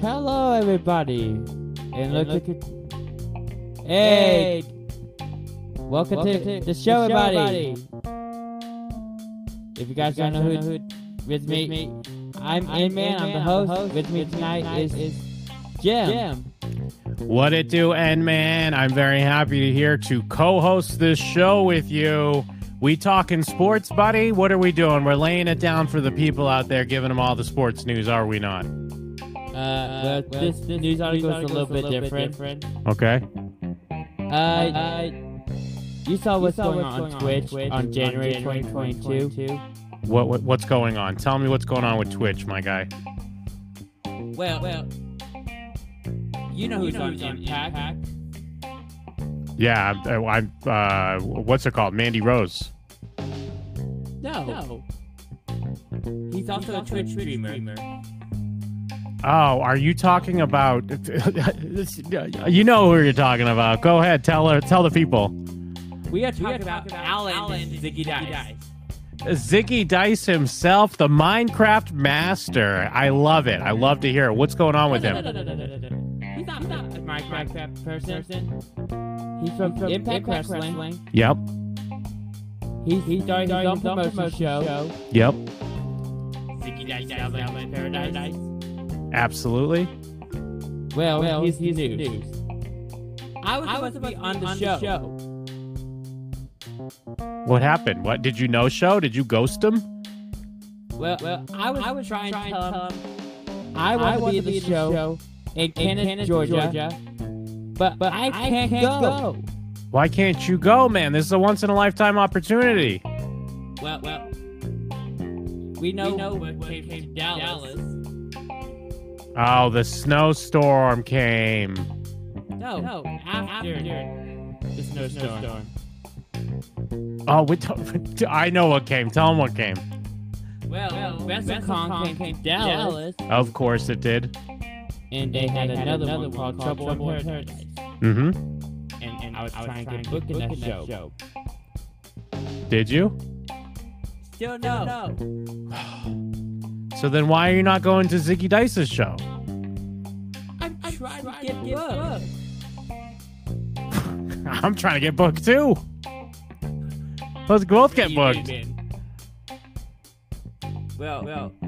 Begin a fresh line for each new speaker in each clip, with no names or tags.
Hello, everybody. And look,
look
at. Hey! Welcome,
welcome
to,
to
the show,
the show,
everybody. If you guys, don't know who,
who
with me,
me,
I'm Iron Man, I'm the host. With me tonight is, is Jim.
What it do, and man, I'm very happy to here to co-host this show with you. We talking sports, buddy. What are we doing? We're laying it down for the people out there, giving them all the sports news, are we not?
Uh, but this, this news article is a little bit different.
Okay.
Uh, you saw what's going on on Twitch on January 2022.
What, what what's going on? Tell me what's going on with Twitch, my guy.
Well, well, you know who's on, Impact.
Yeah, I'm. I'm uh, what's it called? Mandy Rose.
No. He's also a Twitch streamer.
Oh, are you talking about? this- you know who you're talking about. Go ahead, tell her, tell the people.
We are talking,
are
about,
talking about
Alan,
Alan
and Ziggy
Ziggy
Dice.
Dice.
Ziggy Dice himself, the Minecraft master. I love it. I love to hear it. What's going on with
No,
him?
no, no, no, no, no, no, no. He's not, he's not a Minecraft person. He's from, from Impact, Wrestling.
Yep.
He's, he's starting his own promotion, show.
Yep.
Ziggy Dice Sounds Like Paradise.
Absolutely.
Well,
well,
he's,
he's
news. I was,
I
supposed
was
to be on the
on
show.
the
What happened? What did you know? Show? Did you ghost him?
Well, well, I was, I was trying,
trying
to
to
tell him I want to be in the show, in Kenneth, Georgia, but but I can't, go.
Why can't you go, man? This is a once in a lifetime opportunity.
Well, well, we know,
know
what
what
came, to
came to
Dallas.
Oh, the snowstorm came.
No, no, after, the snowstorm.
Oh, we t- I know what came. Tell him what came.
Well, well, WrestleCon came, came to Dallas,
Dallas,
Of course it did.
and they, had, another, one called Trouble, in Paradise.
Mm hmm.
And, and I was trying to get booked in that show.
Did you?
Still no.
So then why are you not going to Ziggy Dice's show?
I'm, trying, to get, booked.
I'm trying to get booked too. Let's both get booked.
Well, well, uh,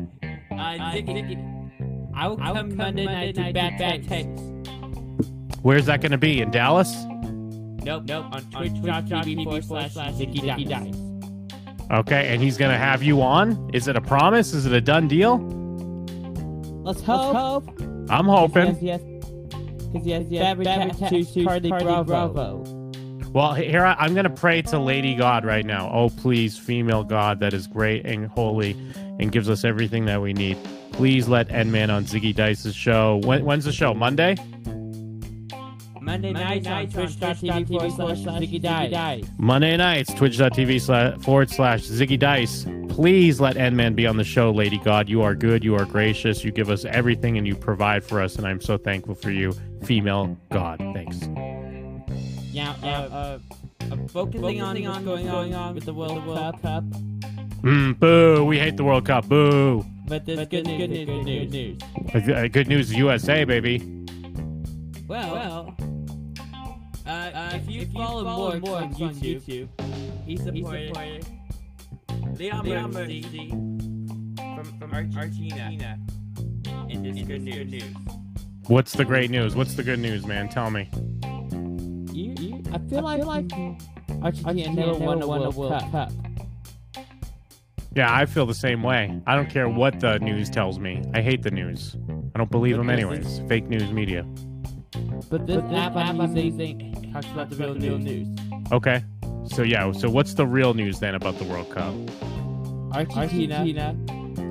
Ziggy, Ziggy, I will come,
I will come
Monday, night to Bad Bad Tapes.
Where's that going to be? In Dallas?
Nope, nope, on twitch.tv forward slash Ziggy Dice.
Okay, and he's going to have you on? Is it a promise? Is it a done deal?
Let's hope.
I'm hoping.
yes. Because yes, yes,
Fabric
Fabric
Tattoo
Tattoos
Suits
Party
Party
Bravo.
Well, here I, I'm going to pray to Lady God right now. Oh, please, female God that is great and holy and gives us everything that we need. Please let Endman on Ziggy Dice's show. When, when's the show? Monday?
Monday nights on twitch.tv forward slash Ziggy Dice.
Monday nights, twitch.tv slash forward slash Ziggy Dice. Please let Endman be on the show, Lady God. You are good, you are gracious, you give us everything, and you provide for us, and I'm so thankful for you, female God. Thanks.
Now, uh, uh, uh, focusing on what's going on with the World Cup.
Mm, boo, we hate the World Cup. Boo.
But there's good news, there's good news, good news.
Uh, Good news, USA, baby.
Well, well. Uh, uh, if you follow, more Morgs on YouTube, he's a supporter. Leon Mercy from, from Argentina. And this good news.
What's the great news? What's the good news, man? Tell me.
You, you, I feel like, Argentina never won a World, Cup.
Yeah, I feel the same way. I don't care what the news tells me. I hate the news. I don't believe them, anyways. Fake news media.
But this app I'm using talks about the real news.
Okay. So, yeah, so what's the real news then about the World Cup?
Argentina,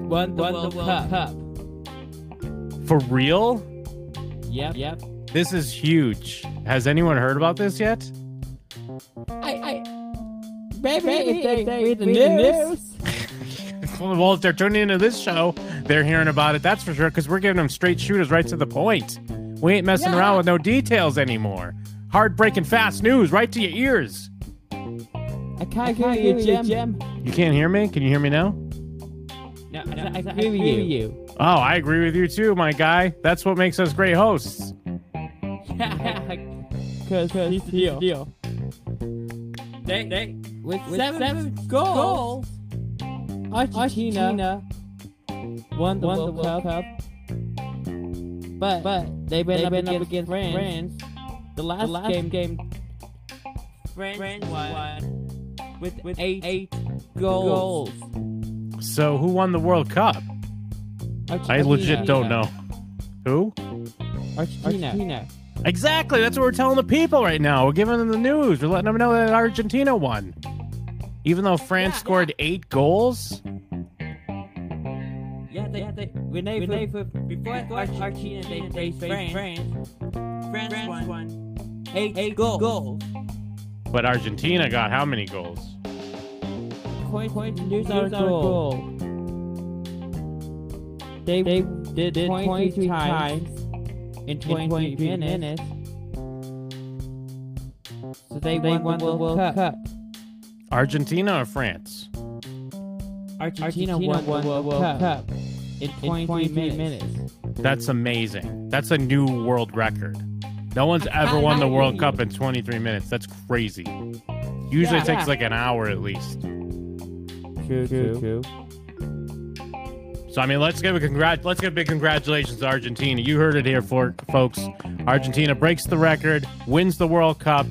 won the World, Cup.
For real?
Yep, yep.
This is huge. Has anyone heard about this yet?
I, I, maybe, if they,
they
read the
read the
news.
Well, if they're tuning into this show, they're hearing about it. That's for sure, because we're giving them straight shooters right to the point. We ain't messing
Yeah.
around with no details anymore. Hard breaking fast news right to your ears.
I can't hear you, Jim.
You can't hear me? Can you hear me now?
No, I, I, I, agree with you.
Oh, I agree with you too, my guy. That's what makes us great hosts.
Cause, Cause he's the deal. deal. They, they, with, with seven, seven goals, Argentina, won the, World, Cup. But, but they've been, up, against France. The last,
The last
game, game France, won with, with eight, eight goals.
So, who won the World Cup? I legit don't know. Who?
Argentina. Argentina.
Exactly. That's what we're telling the people right now. We're giving them the news. We're letting them know that Argentina won. Even though France
Yeah,
scored eight goals?
Yeah, they, yeah, they, when they, when they put, before, before Argentina, they, they faced France. France, won, eight, eight goals. goals.
But Argentina got how many goals?
Point, point, news our goal. They, they did, did 23 times in 23, minutes. So they, won, the World, Cup.
Argentina or France?
Argentina, won, the World, Cup, in 23, minutes.
That's amazing. That's a new world record. No one's ever won the World Cup in 23 minutes. That's crazy. Usually it takes like an hour at least.
True, true, true.
So I mean, let's give a congrat. Let's give a big congratulations to Argentina. You heard it here, for folks. Argentina breaks the record, wins the World Cup.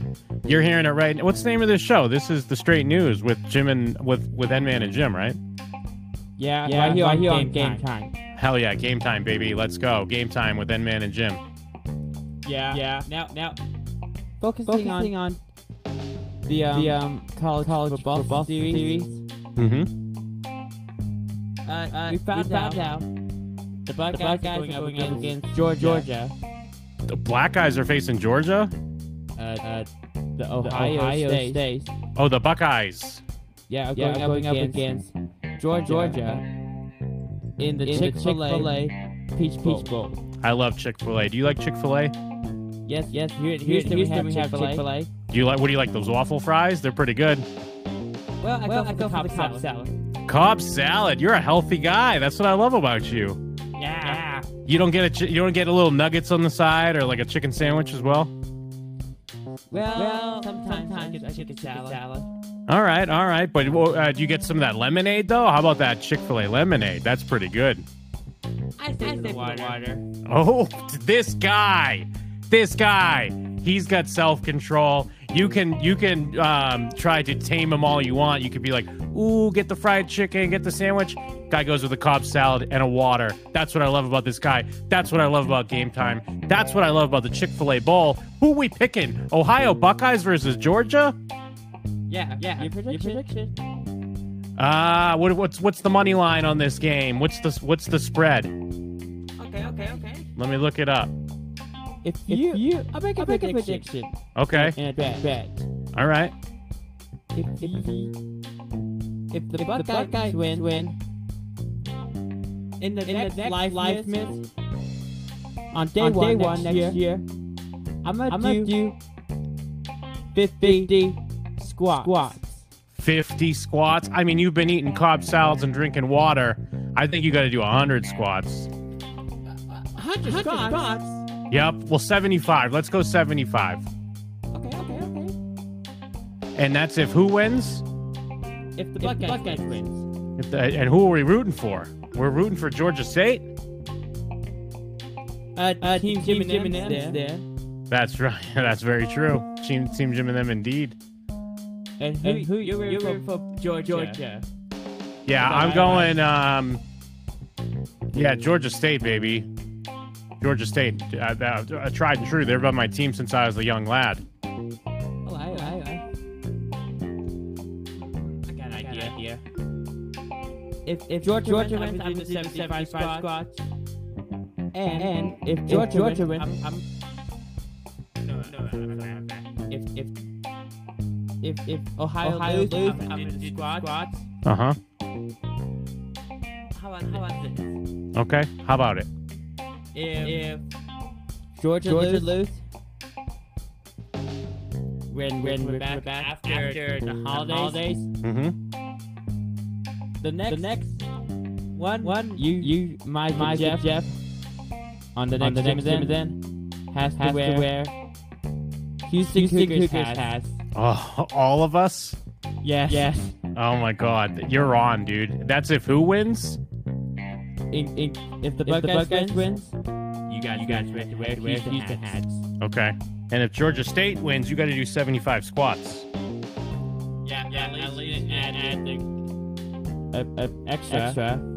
You're hearing it right. What's the name of this show? This is the Straight News with Jim and with with N-Man and Jim, right?
Yeah, yeah, right here, on, game, time.
Hell yeah, game time, baby. Let's go. Game time with N-Man and Jim.
Yeah, yeah. Now, now, focusing, on, the um, college, football, series.
Mm-hmm.
Uh, uh, we found, out, the Buckeyes, the Buckeyes are going up against, Georgia. Georgia.
The black guys are facing Georgia.
Uh, uh, the Ohio, State.
Oh, the Buckeyes.
Yeah, are going, up, against, Georgia. Georgia. In the Chick Fil A Peach Bowl. Peach Bowl.
I love Chick Fil A. Do you like Chick Fil A? Do
Yes, yes. Here, here, Houston, we have Chick Fil A.
you like? What do you like? Those waffle fries? They're pretty good.
Well, I go, for, the Cobb salad.
Cobb salad. You're a healthy guy. That's what I love about you.
Yeah.
You don't get a chi- you don't get a little nuggets on the side or like a chicken sandwich as well.
Well, sometimes, I get, I get the salad.
All right, all right. But well, uh, do you get some of that lemonade though? How about that Chick Fil A lemonade? That's pretty good.
I say the water. water.
Oh, this guy, this guy, he's got self control. You can you can um, try to tame him all you want. You could be like, ooh, get the fried chicken, get the sandwich. Guy goes with a Cobb salad and a water. That's what I love about this guy. That's what I love about game time. That's what I love about the Chick Fil A Bowl. Who we picking? Ohio Buckeyes versus Georgia?
Yeah, yeah. Your prediction.
Uh, what, what's what's the money line on this game? What's the what's the spread?
Okay, okay, okay.
Let me look it up.
If, you, I make a prediction.
Okay,
And a bet.
all right.
If, if, if the Buckeyes, win, win. In the next, life, life miss, on day, one, next year, I'm gonna do, 50, squats. squats.
50 squats. I mean, you've been eating Cobb salads and drinking water. I think you got to do 100 squats.
100, squats.
Yep. Well, 75. Let's go 75.
Okay, okay, okay.
And that's if who wins?
If the Buckeyes, wins.
If the, and who are we rooting for? We're rooting for Georgia State.
Uh, uh, Team, team Jimenez there.
That's right. That's very true. Team, team Jim and them, indeed.
And who, who you're rooting for, Georgia. Georgia.
Yeah, I'm going. Um, yeah, Georgia State, baby. Georgia State. Uh, uh, uh, tried and true. They've been my team since I was a young lad.
Oh, I, I, I. got an idea here. If, if Georgia, Georgia wins, I'm the 75 squad. And, and if Georgia, Georgia wins, I'm, I'm
No, no, no, no, no, no.
if if if if Ohio, Ohio lose, I'm, I'm, in the squad.
Uh huh.
How about how about this?
Okay. How about it?
If, if Georgia, Georgia lose, when when we're back, after, the holidays,
Mm hmm.
the next the next one, one, one, you, you, my, my Jeff, Jeff, on the next,
on the next
Jim
Jim
then, has,
has
to wear,
to wear
Houston,
Houston
Cougars,
Cougars
hats.
hats.
Oh, all of us?
Yes,
Yes,
Oh my god, you're on, dude. That's if who wins?
In, in, if the
If the
Buckeyes,
Buckeyes
wins,
you guys, you guys have to wear,
wear
Houston,
Houston
hats.
Okay. And if Georgia State wins, you got to do 75 squats.
Yeah, yeah, at least add, add the
a, a extra. extra.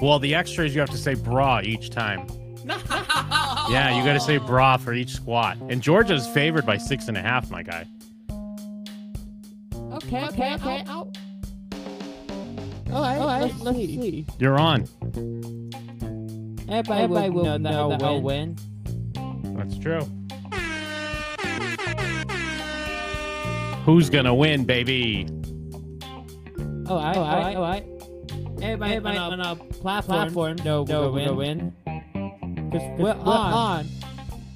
Well, the extras you have to say bra each time. Yeah, you got to say bra for each squat. And Georgia's favored by six and a half, my guy.
Okay, okay, okay. Out. All right, all right. Oh, Let's, let's see.
You're on.
Everybody,
Everybody
will, know
will
that
know
I'll,
that I'll
win.
That's true. Who's gonna win, baby?
All right, all right,
alright,
all right. Oh, Everybody,
Everybody
on,
on
a platform,
platform.
No,
No,
no,
we'll
win. win. Cause, cause we're,
we're
on.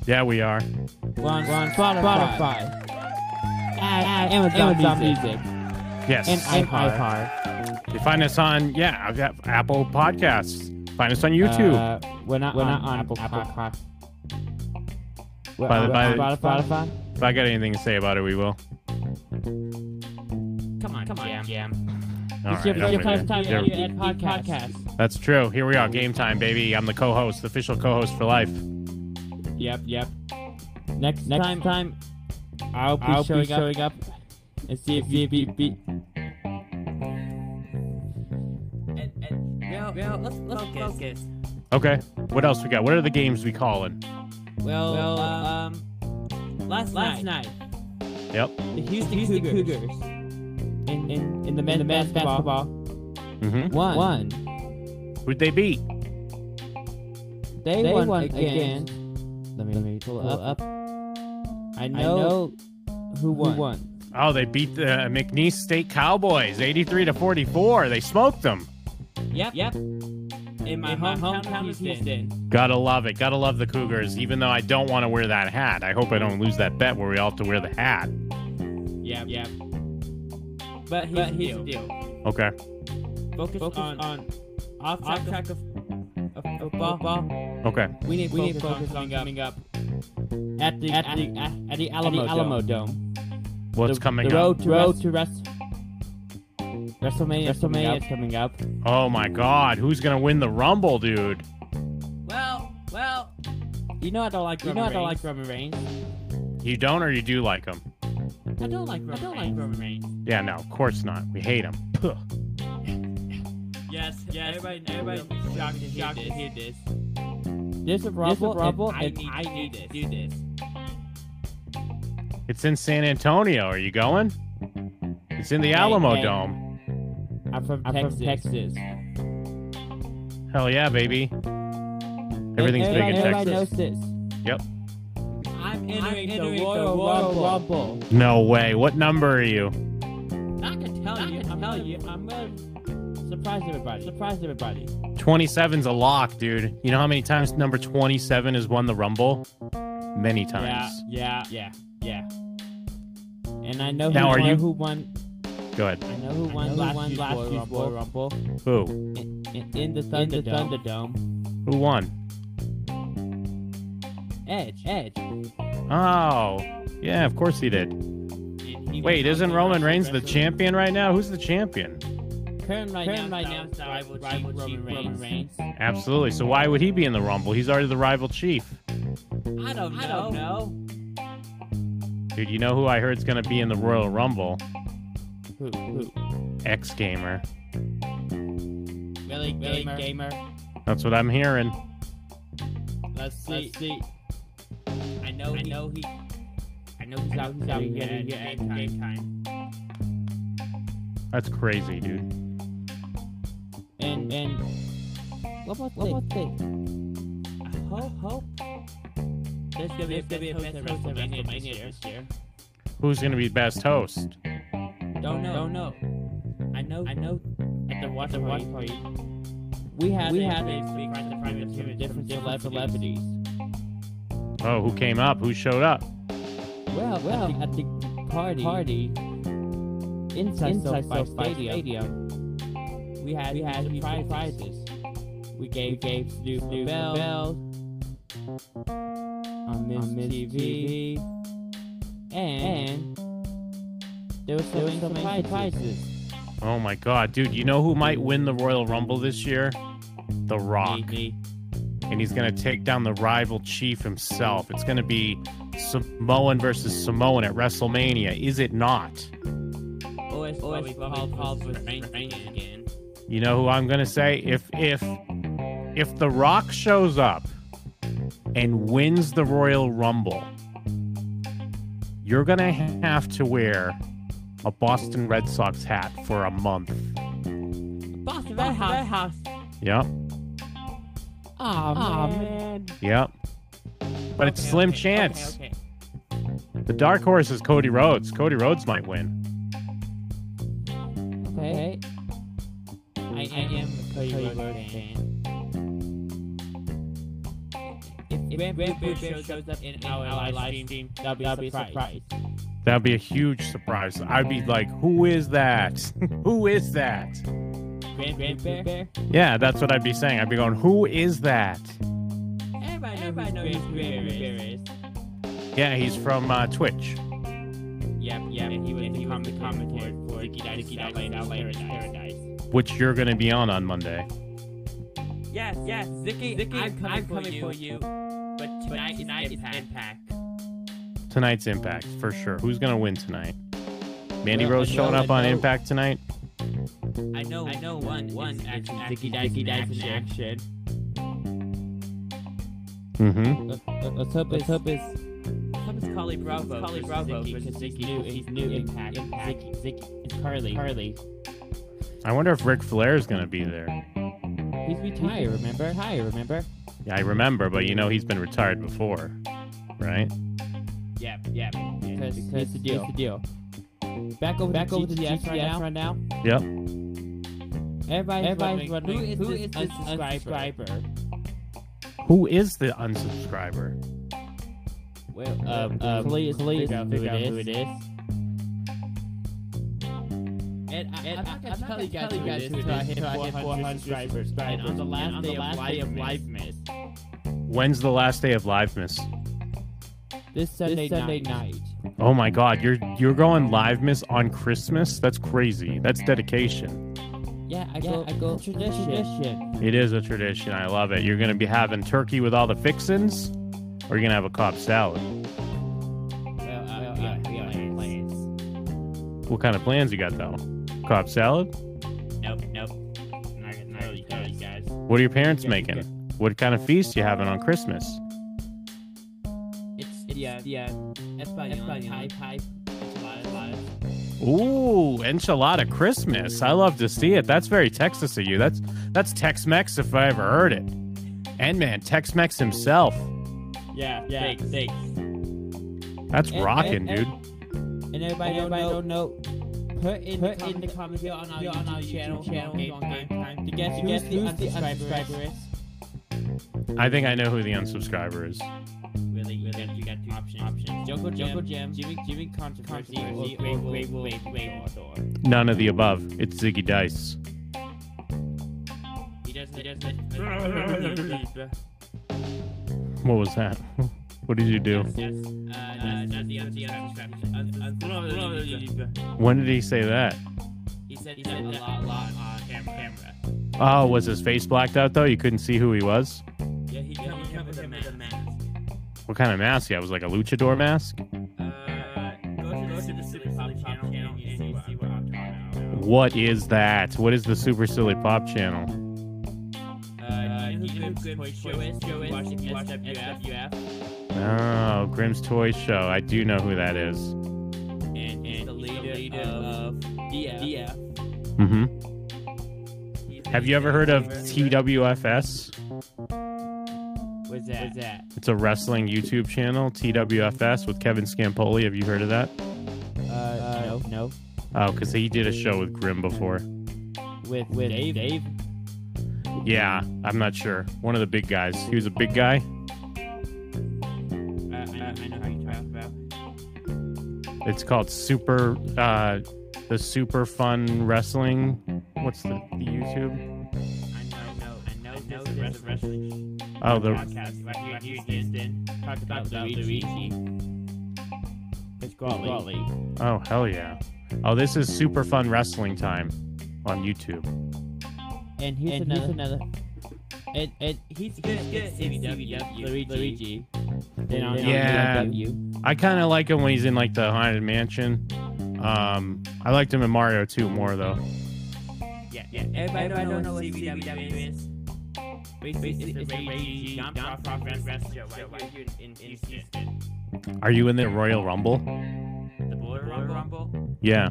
Yeah, we are.
We're on, we're on Spotify,
Spotify.
And Amazon,
Amazon
Music,
Yes.
and, and
iHeart.
iHeart.
you find us on yeah, I've got Apple Podcasts. Find us on YouTube.
Uh, we're not, we're not on Apple, Apple Pod. We're
By
on
the- by the-
Spotify. Spotify.
if I got anything to say about it, we will.
come on, come on, jam.
All
It's
right,
your,
I'm
your
with
first
you.
time
There-
you at podcast. podcast.
That's true. Here we are, game time, baby. I'm the co-host, the official co-host for life.
Yep, yep. Next, next time, time I'll be,
I'll be
showing, up
showing
and see if you beat. beat.
And, and, well, well, let's, let's focus. focus.
Okay. What else we got? What are the games we calling?
Well,
Well,
um,
Last,
last
night,
night,
Yep.
the um, Houston,
Houston
Cougars,
Cougars.
In, in, in the men's, basketball,
Mm-hmm.
won. won.
Who'd they beat?
They,
They
won,
won
again. Let me, let me pull, up. I know, who won.
Oh, they beat the McNeese State Cowboys, 83 to 44. They smoked them.
Yep, yep. In my,
In my
hometown,
hometown of
of Houston.
Gotta love it. Gotta love the Cougars. Even though I don't want to wear that hat, I hope I don't lose that bet where we all have to wear the hat.
Yep, yep.
But here's,
But here's
the
the
deal.
deal.
Okay.
Focus,
Focus
on, on off track,
off
of, of, of football.
Okay.
We need,
We need focus
on
on coming up.
at the at the at, the Alamo,
Alamo
Dome.
What's
the,
coming
the
up?
road to road to rest. WrestleMania, WrestleMania is coming up.
Oh my God. Who's gonna win the Rumble, dude?
Well, well.
You know I don't like. You know I don't like Roman Reigns.
You don't or you do like them?
I don't like Roman
I don't like
Roman Reigns.
Yeah, no, of course not. We hate them.
Yes, yes. Everybody,
everybody
everybody
will be
shocked to hear
shocked to
this.
hear
this.
There's a
Rumble,
rumble. Rumble.
I need, I need to do this.
It's in San Antonio. Are you going? It's in the
Hey,
Alamo
hey.
Dome.
I'm from
I'm
Texas.
from
Hell yeah, baby. Everything's big in
everybody,
Texas.
everybody knows this.
I'm
entering, the Royal, Rumble. Rumble.
No way. What number are you?
Not gonna tell
Not
you.
gonna
I'm
tell
telling
you.
you.
I'm gonna surprise everybody. Surprise everybody.
27's a lock, dude. You know how many times number 27 has won the Rumble? Many times.
Yeah, yeah, yeah, yeah. And I know
Now,
who
are
won,
you-
who won.
Go ahead.
I know who
I
won
know who
last
won
year's
last
Royal
year's
Rumble.
Royal
Who?
In, in the
In the
Thunderdome.
Who won?
Edge, Edge.
Oh, yeah, of course he did.
And he
Wait,
will
isn't
not be
Roman Reigns the
wrestling-
champion right now? Who's the champion?
Current right
Current
now,
right
now
now is
rival,
rival
rival
chief
Roman,
Roman
Reigns.
Reigns.
Absolutely. So why would he be in the Rumble? He's already the rival chief.
I don't know.
I don't
know.
Dude, you know who I heard's going to be in the Royal Rumble?
Who, who?
X Gamer.
Really,
Really, gamer.
gamer.
That's what I'm hearing.
Let's see.
Let's see.
I know. I know he. I know he's out. He's out.
Yeah,
Yeah,
yeah,
yeah,
yeah.
game time.
That's crazy, dude.
And and what was what was this?
Hope, hope.
There's gonna be a
There's gonna be a best
best
WrestleMania
WrestleMania
this
this
year.
year.
Who's going to be best host?
Don't know. Don't know.
I know.
I know.
At the watch
The watch
party.
party. We had
We
we had
had a
a big
big surprise
surprise
surprise
from
from
different
different
celebrities.
Oh, who came up? Who showed up?
Well, well, at the, at the party, party inside,
Inside
SoFi
SoFi
Stadium, we had we had
we
prizes.
prizes.
We gave gave Snoop Snoop bells. bells on this
on this
TV. And, there was some, some surprises.
Oh my god, dude, you know who might win the Royal Rumble this year? The Rock.
Me,
And he's going to take down the rival chief himself. It's going to be Samoan versus Samoan at WrestleMania, is it not?
me. Always, always called, called with rain, rain again.
You know who I'm going to say? If if if The Rock shows up and wins the Royal Rumble, you're going to have to wear a Boston Red Sox hat for a month.
Boston Red House. House.
Yep.
Aw,
Aw,
man.
Yep. But it's
Okay,
slim
okay,
chance.
Okay, okay.
The dark horse is Cody Rhodes. Cody Rhodes might win.
Okay. I, I am a Cody Rhodes fan. If Grand Blue Boot shows up in our live stream, that'll be a surprise.
That'd be a huge surprise. I'd be like, who is that? who is that?
Grand Grand Bear? Bear?
Yeah, that's what I'd be saying. I'd be going, who is that?
Everybody knows Everybody knows who Grand Bear is.
Yeah, he's from uh, Twitch.
Yep, yep, and he was the comic commentator for Dicky Dice Paradise. Paradise.
which you're going to be on on Monday.
Yes, yes, Zicky, Zicky I'm coming, I'm coming for, you. But tonight, but tonight is Impact.
Tonight's Impact, for sure. Who's going to win tonight? Mandy
Well,
Rose
I
showing
know-
up on
I know-
Impact tonight?
I know, I know one, one action, Zicky Dice, Dice in action.
Mm-hmm.
Let's hope it's, hope it's, hope it's Carly Bravo. Carly Bravo because Zicky, new, he's new Impact. Impact. Zicky, Zicky, it's Carly. Carly.
I wonder if Ric Flair is going to be there.
He's retired, remember? Hi, remember?
Yeah, I remember, but you know he's been retired before, right?
Yep, yep. Because, because it's the deal. It's the deal. Back over, back over to the GTS right, right now.
Yep.
Everybody's,
Everybody's
wondering,
wondering,
who is this unsubscriber?
Who is the unsubscriber?
Well, um, um, please, please figure out who it is. And, I, and I'm not gonna tell you guys who it is until I hit 400 subscribers. And on the last day of live live miss.
When's the last day of live miss?
This Sunday, night.
Oh my god, you're you're going live miss on Christmas? That's crazy. That's dedication.
Yeah, I go, I go tradition. tradition.
It is a tradition. I love it. You're going to be having turkey with all the fixins or you're going to have a Cobb salad.
Well, uh, well, uh, we have plans.
What kind of plans you got though? Cobb salad?
Nope, nope. I'm not gonna tell you guys.
What are your parents
Yeah,
making?
yeah.
What kind of feast you having on Christmas?
It's, uh, it's yeah, yeah. Espanyol, pie, pie, enchiladas.
Ooh, enchilada Christmas. I love to see it. That's very Texas of you. That's that's Tex-Mex if I ever heard it. And man, Tex-Mex himself.
Yeah, yeah. Thanks,
That's
And-
rocking,
and- and-
dude.
And everybody, don't, know, Put in the comment, here on our, YouTube, channel, channel, on Game Time. To guess, to guess who's, the unsubscriber is.
I think I know who the unsubscriber is.
Really, really, you got two options. options.
Joko Joko Jam, Jimmy Jimmy Controversy,
Controversy,
or
or
Grey
Grey
Wolf,
Wolf, Grey Wolf.
Door.
None of the above. It's Ziggy Dice.
He doesn't, he doesn't.
What was that? what did you do?
Yes, uh, that's the unsubscription.
When did he say that?
He said, he said a lot, lot on cam- camera.
Oh, was his face blacked out though? You couldn't see who he was?
Yeah, he covered him with a mask.
What kind of mask? Yeah, it was like a luchador mask?
Uh, go to, go to the Super Pop channel and you see what I'm talking about.
What is that? What is the Super Silly Pop channel?
Uh, he did good choice, choice, watch SWF,
Oh, Grimm's Toy Show. I do know who that is.
and, and the leader of DF.
Mm-hmm. Have you ever heard of TWFS?
What's that? What's that?
It's a wrestling YouTube channel, TWFS, with Kevin Scampoli. Have you heard of that?
Uh, no, no.
Oh, because he did a show with Grimm before.
With with Dave, Dave.
Yeah, I'm not sure. One of the big guys. He was a big guy.
Uh, I, know, I know how you talk about.
It's called Super, uh, the Super Fun Wrestling. What's the, the YouTube?
I know, I know, I know, I know. rest of wrestling.
Oh, the
Podcast right here, here in Houston. Talk about Luigi.
It's Golly.
Golly.
oh hell yeah! Oh, this is super fun wrestling time on YouTube.
And here's
And
another.
here's
And, and he's good.
Good,
He's
good. CBW,
Luigi.
Luigi.
Then on- on
Yeah.
CBW.
I kind of like him when he's in like the haunted mansion. Um, I liked him in Mario 2 more though.
Yeah, yeah.
Everybody don't
Everybody don't
know
know
what
what
CBW
CBW is. Basically, it's a Luigi non-profit wrestling show right here in- in Houston.
Are you in the Royal Rumble?
The Royal Rumble. Rumble.
Yeah.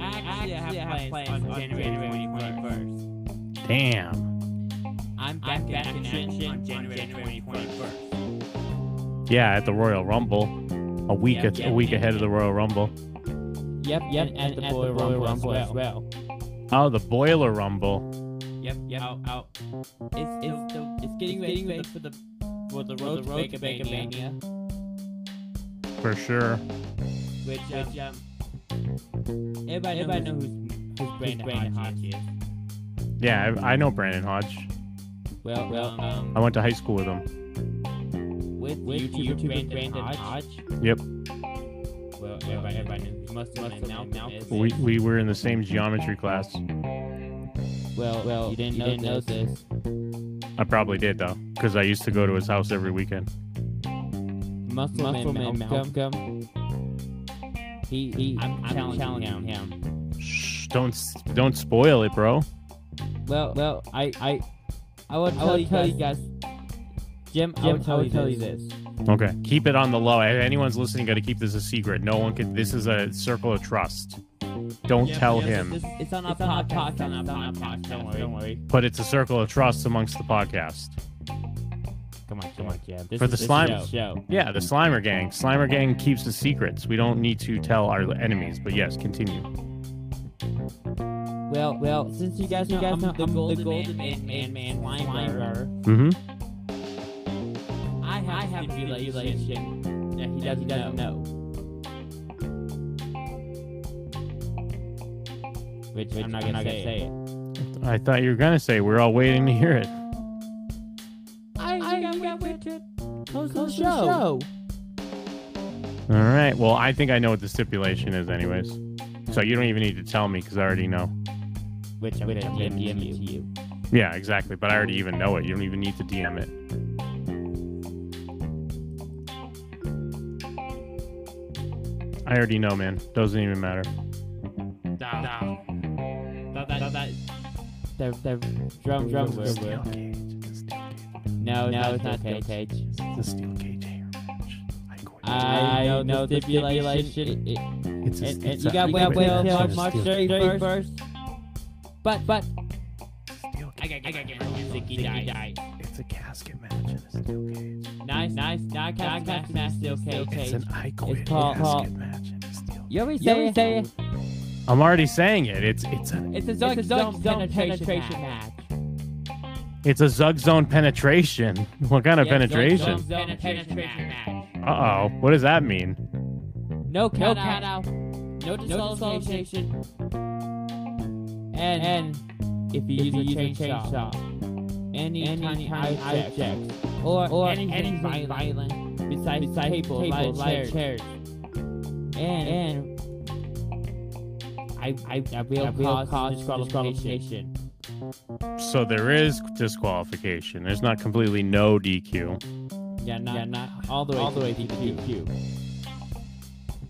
Actually, I have plans on January 21st.
Damn.
I'm back,
I'm back
in action
on January 21st.
Yeah, at the Royal Rumble, a week
Yep,
a
yep,
week
yep,
ahead of the Royal Rumble.
Yep, yep, and, at the Royal Rumble, as well.
Oh, the Boiler Rumble.
Yep, yep. Out, out. It's, it's, the, it's getting
it's
ready,
getting
for the for the road,
the
to
road
Baker
to
Baker Mania,
Mania.
For sure.
which, um,
Which, um,
everybody,
everybody
knows
knows
who's, who's Brandon, Brandon Hodge.
Hodges.
Yeah, I, I know Brandon Hodge.
Well, well, um,
I went to high school with him.
with,
with
YouTuber,
YouTuber
Brandon,
Brandon
Hodge.
Yep.
Well,
everybody-
everybody,
everybody
everybody knows must have
Muslim
known
and
Malcolm.
Malcolm
We, we were in the same geometry class.
Well, well, you didn't, know, this.
I probably did though, because I used to go to his house every weekend.
Muscle,
Muscle
Man
Man
Malcolm. He, he,
I'm- I'm challenging
him.
Shh, don't s- don't spoil it, bro.
Well, well, I, I, I will tell,
will
you,
tell
guys,
you
Jim, I
Jim,
will tell, you, this.
Okay, keep it on the low. If anyone's listening, got to keep this a secret. No one could. This is a circle of trust. Don't
Yep,
tell
yep,
him,
this- this-
It's on
our
our podcast.
podcast,
It's on our
it's on our
podcast. Don't
podcast, don't
worry. Don't worry.
but it's a circle of trust amongst the podcast.
Come on, come on, Jim. This
For
is
the
this
slime-
show. show.
Yeah, the Slimer Gang. Slimer Gang keeps the secrets. We don't need to tell our enemies. But yes, continue.
Well, well, since you guys, you guys know, I'm, the golden, man, man, man,
man,
slimer.
Mm-hmm.
I have, I have a
stipulation
relation that he
that he
doesn't,
doesn't
know. Which, I'm not gonna say it.
I thought you were gonna say we're all waiting to hear it.
I, got, got Richard. Close,
Close
the
the
show.
All right. Well, I think I know what the stipulation is, anyways. So you don't even need to tell me because I already know.
Which I'm
gonna
gonna
DM
DM
you.
it to you.
Yeah, exactly. But I already even know it. You don't even need to DM it. I already know, man. Doesn't even matter.
Da, da. Da, da, da, da.
The, the drum, drum,
It's a steel cage. It's a steel cage.
No, no, it's not
Bill
Bill Cage.
It's a steel cage hair match. I go-
I know, the stipulation. It,
It's a-
it,
it's
you
a-
got wait
it's a
till
steel
March
cage.
31st. But, but,
Steel
I
cage.
gotta get rid of my Zicky die.
It's a casket match and a steel cage.
nice, nice, nice, nice, nice, nice, Bill Cage.
It's an I quit
called-
casket match and a steel
You already
You
say
already
it. Say it.
I'm already saying it. It's it's a
It's a
Zoink
Zoink Zone
Zone
penetration,
penetration
match.
it's a Zug Zone penetration. What kind of
Yeah, Zug
penetration?
Zone.
Pen- Penetration match.
Uh oh. What does that mean?
No
count
count out. No disqualification. And, and if you use, a chainsaw, any, tiny object, or, or anything, violent, besides, besides table, light, light chairs, and, and I, I, I will, cause, disqualification.
So there is disqualification. There's not completely no DQ.
Yeah, not, yeah, not all the way, all the way to DQ.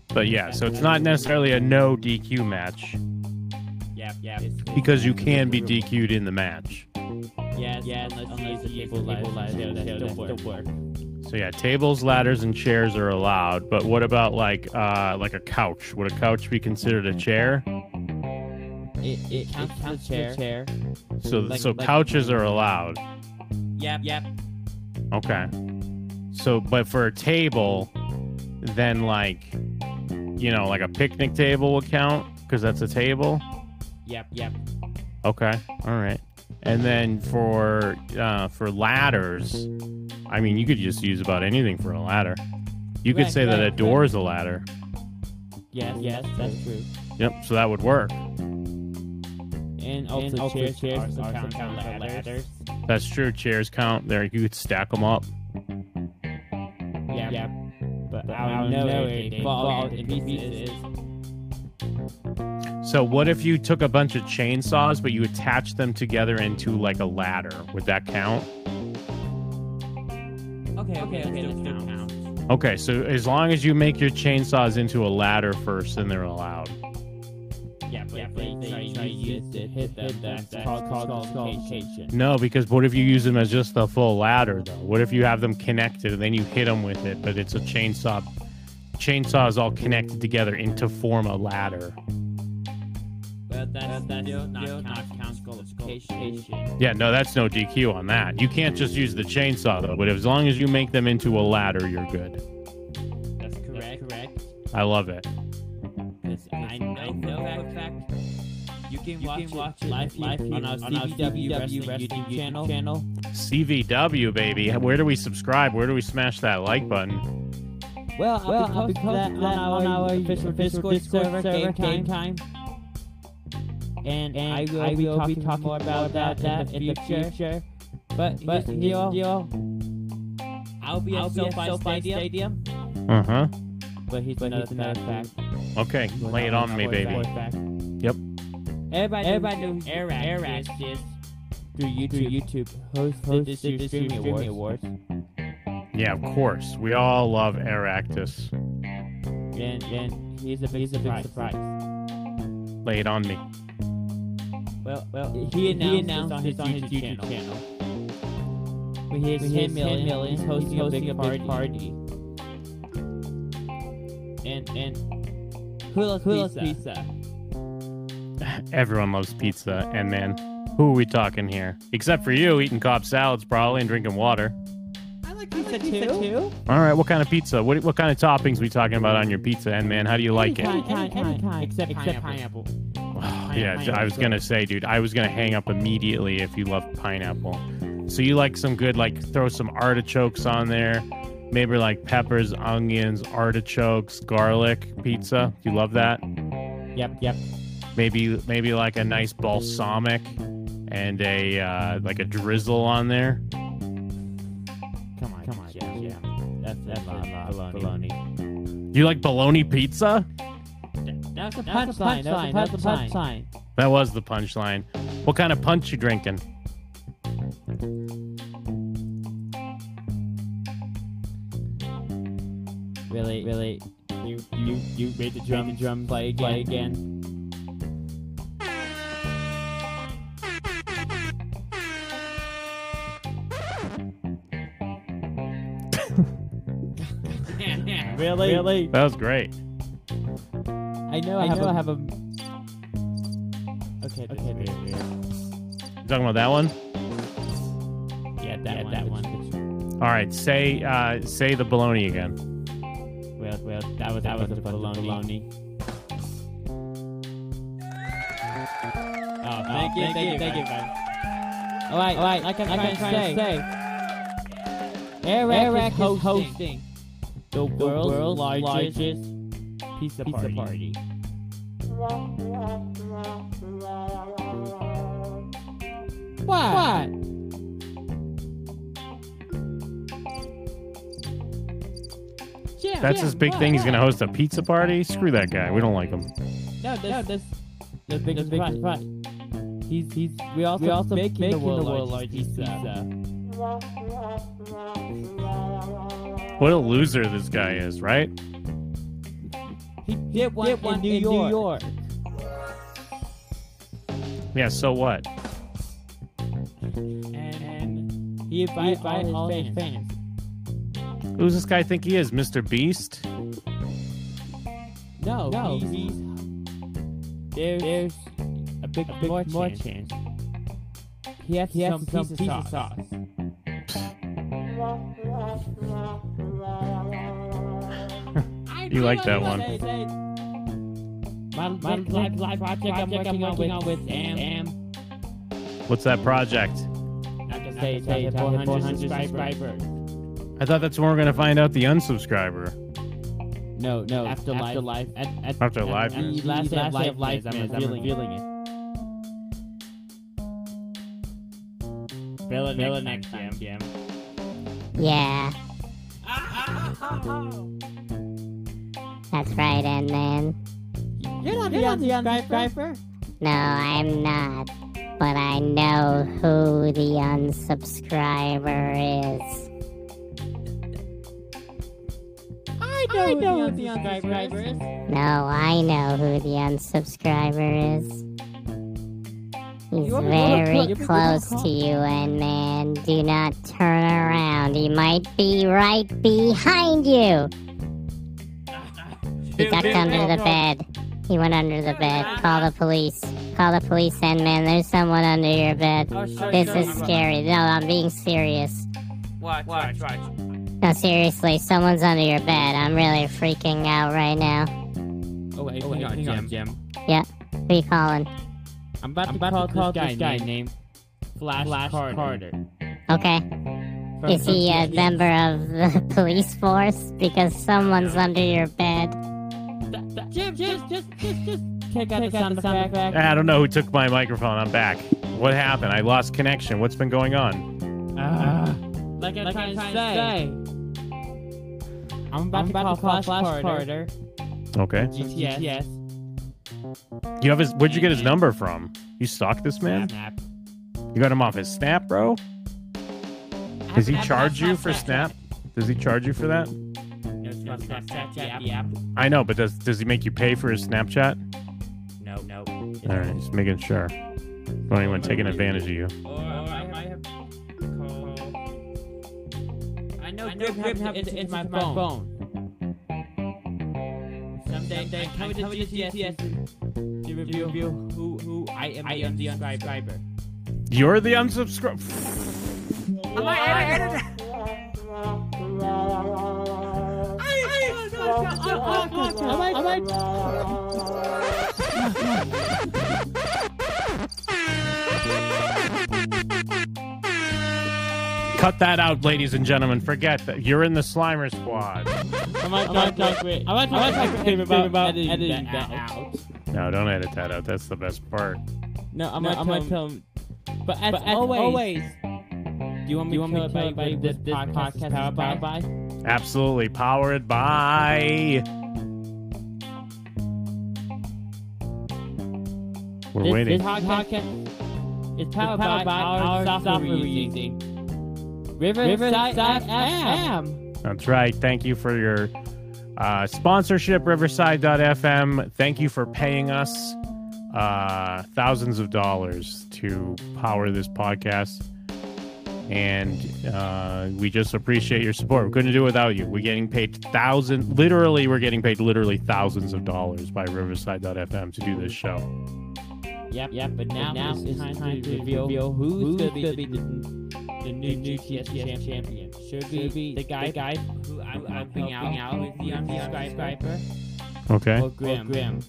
But yeah, so it's not necessarily a no DQ match
Yep, yep.
because you can be DQ'd in the match.
Yes,
Yes,
unless,
unless
you use a table,
light,
table light,
still-
that
still
don't
work.
work.
So yeah, tables, ladders, and chairs are allowed. But what about like uh like a couch? Would a couch be considered a chair?
It, it counts, counts the chair. chair.
So
Like-
so
like-
couches are allowed.
Yep, yep.
Okay. So, but for a table, then like, you know, like a picnic table would count because that's a table.
Yep, yep.
Okay. All right. And then for uh, for ladders, I mean, you could just use about anything for a ladder. You could
Right,
say that
right,
a
right.
door is a ladder.
Yes, yes, that's true.
Yep. So that would work.
and also,
And also
chairs, chairs
chairs
are,
are
are
sometimes
sometimes
ladders.
ladders.
That's true. Chairs count. There, you could stack them up.
Yeah, yeah. But,
But
I don't know, if they fall in pieces.
So, what if you took a bunch of chainsaws, but you attached them together into like a ladder? Would that count?
Okay,
Okay, okay, that still counts.
Okay, so as long as you make your chainsaws into a ladder first, then they're allowed.
Yeah,
but
yeah,
if
but
they
if they
try
try
to
use
use
it, hit them, that's called sculptation.
No, because what if you use them as just a full ladder though? What if you have them connected and then you hit them with it, but it's a chainsaw? Chainsaws all connected together into form a ladder.
But that's, that's still
still
not
not
count, count sculptation.
Yeah, no, that's no DQ on that. You can't just use the chainsaw though. But as long as you make them into a ladder, you're good.
That's correct. correct.
I love it.
Because I know, I know for a fact
You can
you
watch,
can watch
it live, live
here
on our
on our
CBW
CBW
Wrestling
Wrestling
YouTube
YouTube
channel.
CVW baby, where do we subscribe? Where do we smash that like button?
Well, I'll
Well,
be
I'll be
posting that
posting
on our, official Discord, server, Game, game time. And, and I will, be, talking more about, that, in the future. But, but here's, the deal.
I'll be
I'll
at
be at
SoFi
SoFi
Stadium.
Uh huh.
But he's
another
another, another
fact.
fact.
Okay, lay it on me, baby. Yep.
Everybody,
Everybody
everybody
knew
knows
Air Act is
through YouTube, through YouTube hosted this year's Streaming Awards.
Yeah, of course. We all love Eractus.
And, and he's a big, he's a big surprise.
Lay it on me.
Well, well, he announced,
announced
this on his, YouTube, channel. When he has 10
When he has 10
million,
million,
he's hosting,
he's
a, big
hosting a big
party. And, and Hula's,
Hula's
pizza.
Everyone loves pizza, and man, who are we talking here? Except for you, eating cob salads probably and drinking water.
I like
pizza too.
All right, what kind of pizza? What what kind of toppings we talking about on your pizza, and man, how do you like it?
Any
Any
kind,
kind,
any kind,
except
except
pineapple.
pineapple.
yeah,
pineapple.
I was gonna say, dude, I was gonna hang up immediately if you love pineapple. So you like some good, like throw some artichokes on there, maybe like peppers, onions, artichokes, garlic pizza. You love that?
Yep, yep.
maybe maybe like a nice balsamic and a uh, like a drizzle on there.
Come on, come on,
yeah,
yeah, That's that's
Baloney.
baloney.
You like bologna pizza?
That's a
That's a punchline. That's a punchline.
That was the punchline. What kind of punch you drinking?
Really, really. You you you made the drum drum play again. Play again.
punchline.
Really, really.
That was great.
I know. I,
I
have,
know
a,
I
have a. Okay, okay.
You talking about that one?
Yeah, that
Yeah,
one.
that
All right, say uh, say the bologna again.
Well, well, that was that was a baloney.
Oh,
thank you, thank you, thank you,
man.
All right, all right. Like I'm, trying, to say, Eric, is hosting, the world's, largest, pizza,
party.
party. What? Yeah,
That's
yeah,
his big
what?
thing. He's gonna host a pizza party. Screw that guy. We don't like him.
No, this, no, this, this big, this big, He's, he's. We also,
We also
making,
making
the world's largest pizza.
What a loser this guy is, right?
He did one,
did one
in, New,
in New
York.
York.
Yeah. So what?
And
He invited
He invited
all,
all
his
his
fans.
Who's this guy think he is, Mr. Beast?
No,
No,
he's,
he's-
there's, a big,
big
more,
more
chance. He has,
he has
some, some pizza sauce.
You like that one?
My, my
Big
life, life project, I'm
project
working, on with Am. Am.
What's that project?
I can
say
say, say,
it's at
400,
400
subscribers.
I thought that's when we're gonna find out the unsubscriber.
No, no, afterlife.
afterlife.
At, at,
Afterlife.
at the
Yes.
last day of
Last day of
life,
life
I'm
is, I'm
revealing it.
Fill it, fill it next time, Jim.
Yeah, that's right, and man.
You're not, You're not the unsubscriber.
No, I'm not. But I know who the unsubscriber is.
I know, I know who the unsubscriber is.
No, I know who the unsubscriber is. He's
You want me to look-
very
look- you want me to
close
look up?
to you, and man, do not turn around. He might be right behind you. He ducked under the bed. He went under the bed. Call the police. Call the police, and man, there's someone under your bed.
Oh, sure,
This
sure,
is
I'm-
scary. No, I'm being serious.
Watch, watch, watch.
No, seriously, someone's under your bed. I'm really freaking out right now.
Oh wait, hang on, Jim. Jim.
Who you calling?
I'm about, I'm about to call this guy, named Flash, Carter.
Okay. Is he a member of the police force? Because someone's under your bed.
Jim, just, just, just, just take out the sound effect.
Ah, I don't know who took my microphone. I'm back. What happened? I lost connection. What's been going on?
Ah. Like I'm
Like
trying
I'm
to say,
trying to say,
I'm about,
I'm
to call, Flash, Carter.
Okay.
GTS.
You have his. Where'd you get his number from? You stalk this man.
Snap.
You got him off his Snap, bro. Does he charge you for Snap? Does he charge you for that?
No, snap, snap, snap, snap, yap.
I know, but does does he make you pay for his Snapchat?
No, no.
All right, just making sure. Don't anyone taking advantage of you.
Or, or I might have called.
I know
I know
Grip
Grip
have
have
to
into
my
my phone.
Someday, someday I'm coming to GTS to review, review who, who I am I the am unsubscriber.
You're the unsubscribe.
Am I, am I,
Cut that out, ladies and gentlemen. Forget that. You're in the Slimer Squad.
am I, am I, am I, am I talking about, about editing, editing that out?
No, don't edit that out. That's the best part.
No, I'm
No,
gonna
I'm gonna
tell him.
But as,
But as
always,
always,
do you want me
you want
to
me to
tell everybody
this,
what this podcast is powered by?
Absolutely powered by. We're
This-
waiting.
This podcast is powered,
powered
by
by
our
our
software
software
we're using. Riverside, FM.
That's right. Thank you for your uh, sponsorship, Riverside.fm. Thank you for paying us uh, thousands of dollars to power this podcast. And uh, we just appreciate your support. We couldn't do it without you. We're getting paid thousand, literally, we're getting paid literally thousands of dollars by Riverside.fm to do this show.
Yep, yep. But now,
now
it's,
it's
time,
time
to
to
reveal,
reveal
who's,
who's
going
gonna
to be the, the new GTS champion. champion. Should,
be
be the guy, guy
Who I'm,
I'm
I'm helping
helping
out with the unsubscriber.
Okay.
or Grim. Grim.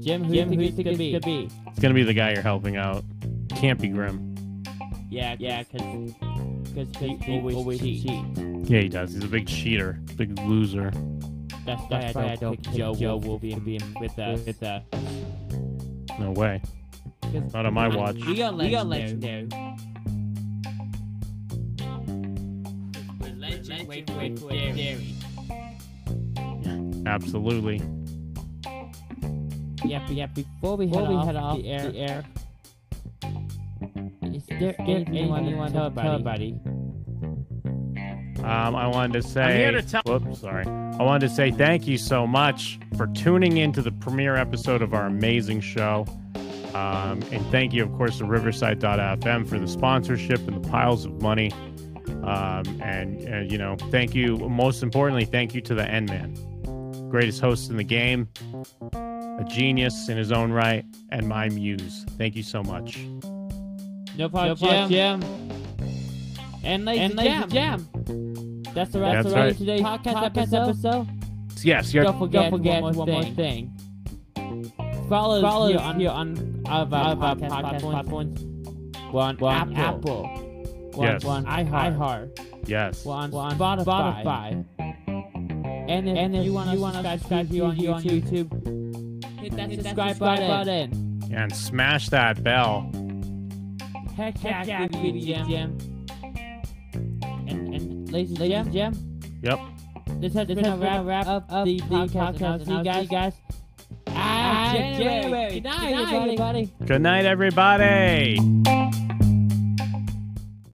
Jim, who
Jim,
do
who
you think it's going to be?
It's going to be the guy you're helping out. Can't be grim.
Yeah, yeah, because
Because he
he
always,
always
cheats.
cheats.
Yeah, he does. He's a big cheater, big loser.
That's why,
That's
I don't pick Joe, Wolf to be in with the, with the
No way. Not on my watch.
We got
We got
legendary.
Legend,
Wait, wait, wait, dairy.
Absolutely.
Yep, yep. Before we head,
Before we
off,
head off
the air,
the
is there, is
anyone to
anyone, anyone
tell
to tell
buddy?
buddy?
Um, I wanted to say.
I'm here to tell-
Whoops, sorry. I wanted to say thank you so much for tuning in to the premiere episode of our amazing show. Um, and thank you, of course, to Riverside.fm for the sponsorship and the piles of money. Um, and, and, you know, thank you. Most importantly, thank you to the N Man, greatest host in the game, a genius in his own right, and my muse. Thank you so much.
No
No
problem,
problem,
Jim.
Jim.
And ladies
And
and,
ladies and
Jam.
Jam.
That's the
That's
rest
right.
of today's podcast, episode.
Yes, you're.
Don't forget,
Don't forget
one, more,
one more
thing. Follow,
Follow
us here
us
on,
here
all of our,
all of our
podcast,
podcast
platforms. We're on,
We're on
Apple. We're
Yes.
on
iHeart.
iHeart.
Yes.
We're on,
We're on
Spotify.
Spotify.
And if,
And if
you want
you
to
wanna
subscribe,
subscribe
to you on
here on
YouTube,
Hit that
subscribe button.
And smash that bell.
Tech Jack with you, Jim. And, and ladies and gentlemen, Jim.
Yep.
This has been a wrap, wrap up of the podcast. And I'll see you guys, guys. Ah, January. Good night, everybody.
Good night, everybody.